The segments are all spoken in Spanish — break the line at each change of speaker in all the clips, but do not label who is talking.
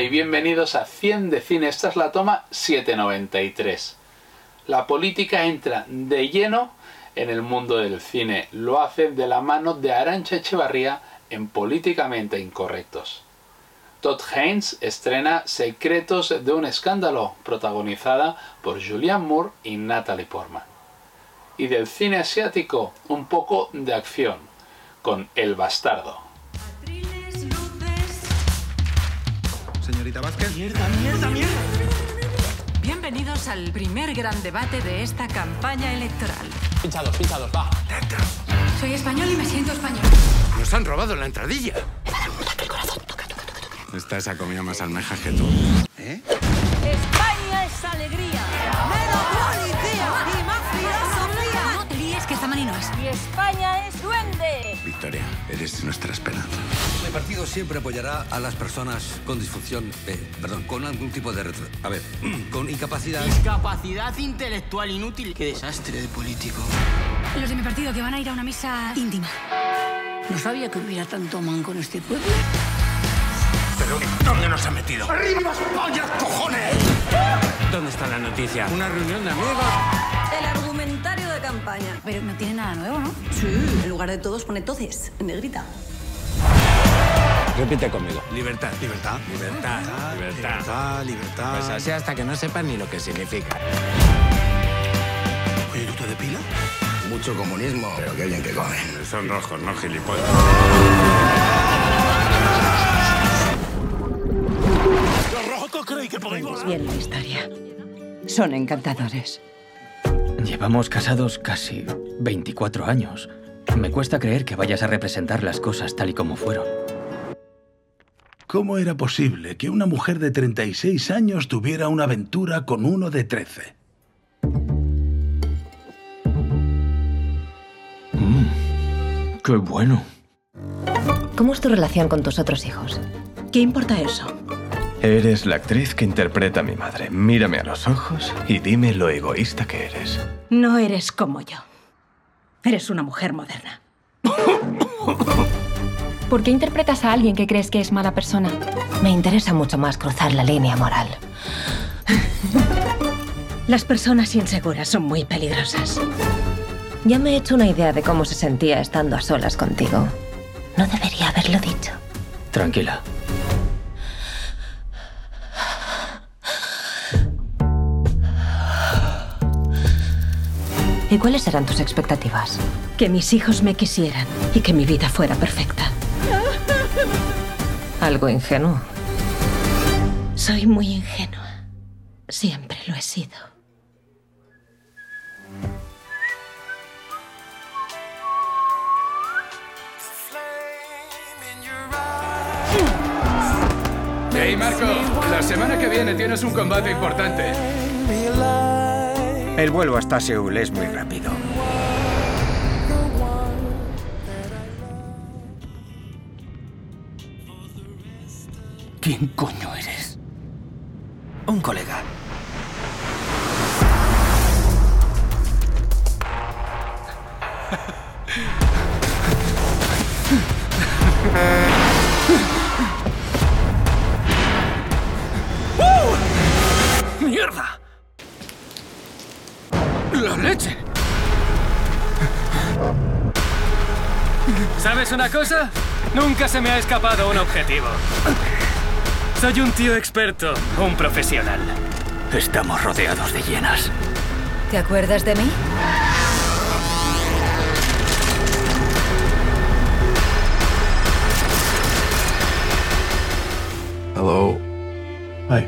y bienvenidos a 100 de cine. Esta es la toma 793. La política entra de lleno en el mundo del cine. Lo hacen de la mano de Arancha Echevarría en Políticamente Incorrectos. Todd Haynes estrena Secretos de un escándalo, protagonizada por Julianne Moore y Natalie Portman. Y del cine asiático, un poco de acción, con El Bastardo.
Señorita Vázquez.
Mierda, mierda, mierda.
Bienvenidos al primer gran debate de esta campaña electoral.
Pinchados, pinchados, va.
Entra. Soy español y me siento español.
Nos han robado la entradilla.
el corazón, toca, toca, toca, toca.
Esta se ha comido más almejas que tú.
¿Eh? España es alegría. Menos policía y más filosofía.
No te líes que esta mani no es.
Y España es duende.
Victoria, eres nuestra esperanza.
Mi partido siempre apoyará a las personas con disfunción, eh, perdón, con algún tipo de retro, a ver, con incapacidad.
Discapacidad intelectual inútil. Qué desastre de político.
Los de mi partido que van a ir a una misa íntima. No sabía que hubiera tanto manco en este pueblo.
Pero ¿dónde nos ha metido?
¡Arriba las pollas, cojones!
¿Dónde está la noticia?
Una reunión de amigos.
El argumentario de campaña.
Pero no tiene nada nuevo, ¿no?
Sí. En lugar de todos pone toces, en negrita.
Repite conmigo.
Libertad.
Libertad.
Libertad. Libertad.
Libertad. Libertad.
Pues así hasta que no sepan ni lo que significa.
Oye, ¿tú te depila?
Mucho comunismo, pero qué bien que comen.
Son rojos, no gilipollas.
Los rojos creen que podemos...
Bien la historia. Son encantadores.
Llevamos casados casi 24 años. Me cuesta creer que vayas a representar las cosas tal y como fueron.
¿Cómo era posible que una mujer de 36 años tuviera una aventura con uno de 13?
Mm, ¡Qué bueno!
¿Cómo es tu relación con tus otros hijos? ¿Qué importa eso?
Eres la actriz que interpreta a mi madre. Mírame a los ojos y dime lo egoísta que eres.
No eres como yo. Eres una mujer moderna.
¿Por qué interpretas a alguien que crees que es mala persona?
Me interesa mucho más cruzar la línea moral. Las personas inseguras son muy peligrosas. Ya me he hecho una idea de cómo se sentía estando a solas contigo. No debería haberlo dicho.
Tranquila.
¿Y cuáles eran tus expectativas? Que mis hijos me quisieran y que mi vida fuera perfecta. Algo ingenuo. Soy muy ingenua. Siempre lo he sido.
Hey Marco, la semana que viene tienes un combate importante.
El vuelo hasta Seúl es muy rápido. ¿Quién coño eres? Un colega. ¡Uh! ¡Mierda! ¡La leche! ¿Sabes una cosa? Nunca se me ha escapado un objetivo. Soy un tío experto, un profesional. Estamos rodeados de llenas.
¿Te acuerdas de mí?
Hello.
Hi.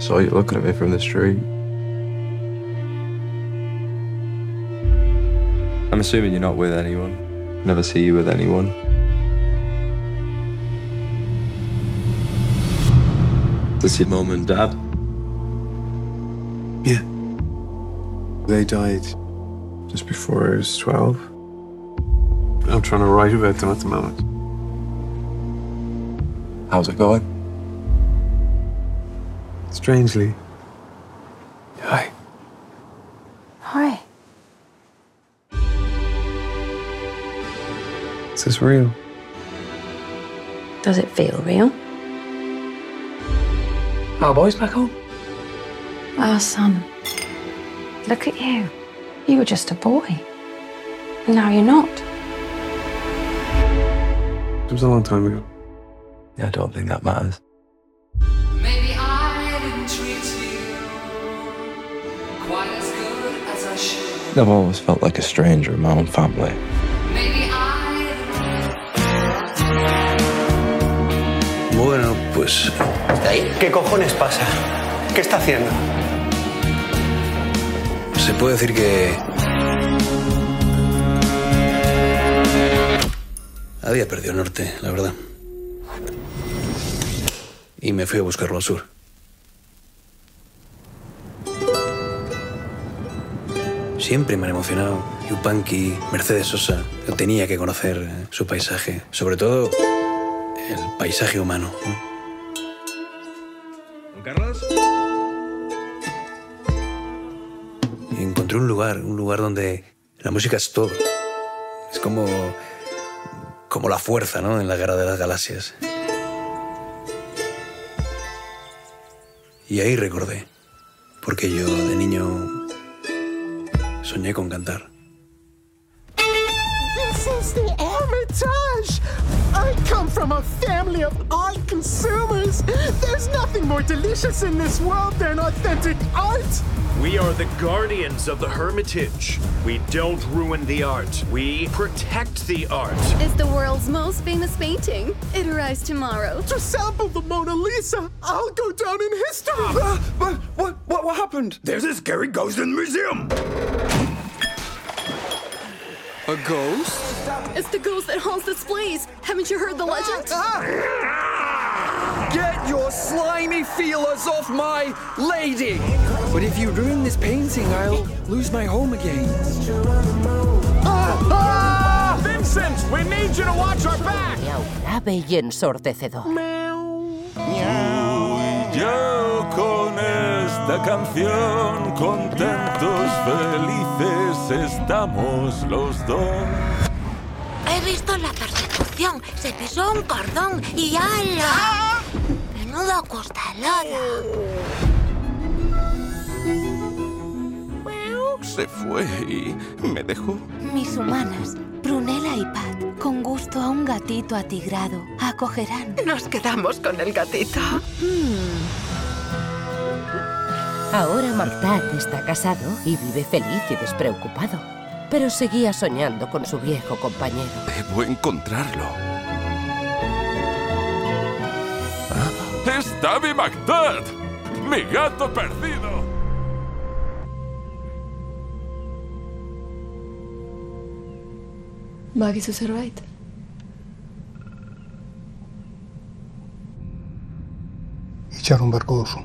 Saw you looking at me from the street. I'm assuming you're not with anyone. Never see you with anyone. To see mum and dad?
Yeah.
They died just before I was 12.
I'm trying to write about them at the moment.
How's it going?
Strangely. Hi.
Hi. Is this real?
Does it feel real?
My boy's back home.
Oh, son. Look at you. You were just a boy. Now you're not.
It was a long time ago.
I don't think that matters.
Maybe I didn't treat you quite as good as I should.
I've always felt like a stranger in my own family.
Maybe I
Bueno, pues.
¿Qué cojones pasa? ¿Qué está haciendo?
Se puede decir que. Había perdido el norte, la verdad. Y me fui a buscarlo al sur. Siempre me han emocionado Yupanqui, Mercedes Sosa. Yo tenía que conocer eh, su paisaje, sobre todo el paisaje humano. ¿no?
Carlos?
Y encontré un lugar, un lugar donde la música es todo. Es como, como la fuerza, ¿no? En la guerra de las galaxias. Y ahí recordé, porque yo de niño soñé con cantar.
This is the Hermitage! I come from a family of art consumers! There's nothing more delicious in this world than authentic art!
We are the guardians of the Hermitage. We don't ruin the art, we protect the art.
It's the world's most famous painting. It arrives tomorrow.
To sample the Mona Lisa, I'll go down in history! Ah, but what, what, what happened?
There's a scary ghost in the museum.
A ghost?
It's the ghost that haunts this place. Haven't you heard the legend?
Ah! Get your slimy feelers off my lady! But if you ruin this painting, I'll lose my home again.
Vincent, we need you to watch our back.
Grave y ensordecedor.
Yo con esta canción contentos, felices estamos los dos.
He visto la persecución. Se pisó un cordón y ala. Menudo costalada.
Se fue y me dejó.
Mis humanas, Brunella y Pat, con gusto a un gatito atigrado, acogerán.
Nos quedamos con el gatito.
Hmm. Ahora Magdad está casado y vive feliz y despreocupado. Pero seguía soñando con su viejo compañero.
Debo encontrarlo. Ah, ¡Es David McDad! ¡Mi gato perdido!
Maggie is right.
Echar un barco oso.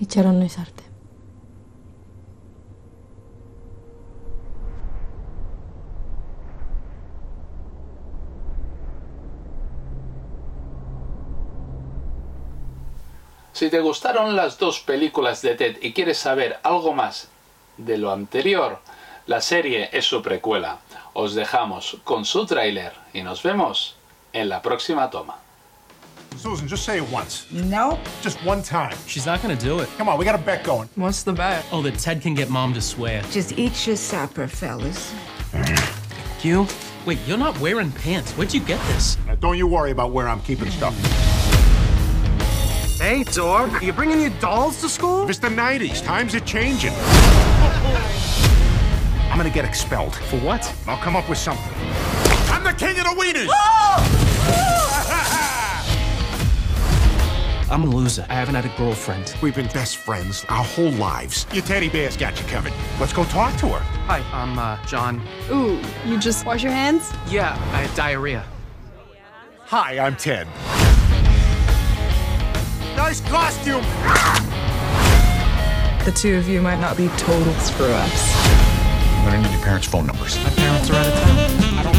Echaron no es arte.
Si te gustaron las dos películas de Ted y quieres saber algo más de lo anterior, la serie es su precuela. Os dejamos con su tráiler y nos vemos en la próxima toma.
Susan, just say it once.
No.
Just one time.
She's not gonna do it.
Come on, we got a bet going.
What's the bet?
Oh, that Ted can get mom to swear.
Just eat your supper, fellas.
You? Wait, you're not wearing pants. Where'd you get this?
Now, don't you worry about where I'm keeping stuff.
Hey, Zorg, are you bringing your dolls to school?
It's the 90s. Times are changing. I'm gonna get expelled.
For what?
I'll come up with something. I'm the king of the wieners!
I'm a loser. I haven't had a girlfriend.
We've been best friends our whole lives. Your teddy bear's got you covered. Let's go talk to her.
Hi, I'm uh, John.
Ooh, you just wash your hands?
Yeah, I have diarrhea.
Hi, I'm Ted. Nice costume!
The two of you might not be total screw ups.
I'm gonna need your parents' phone numbers.
My parents are out of town.
I don't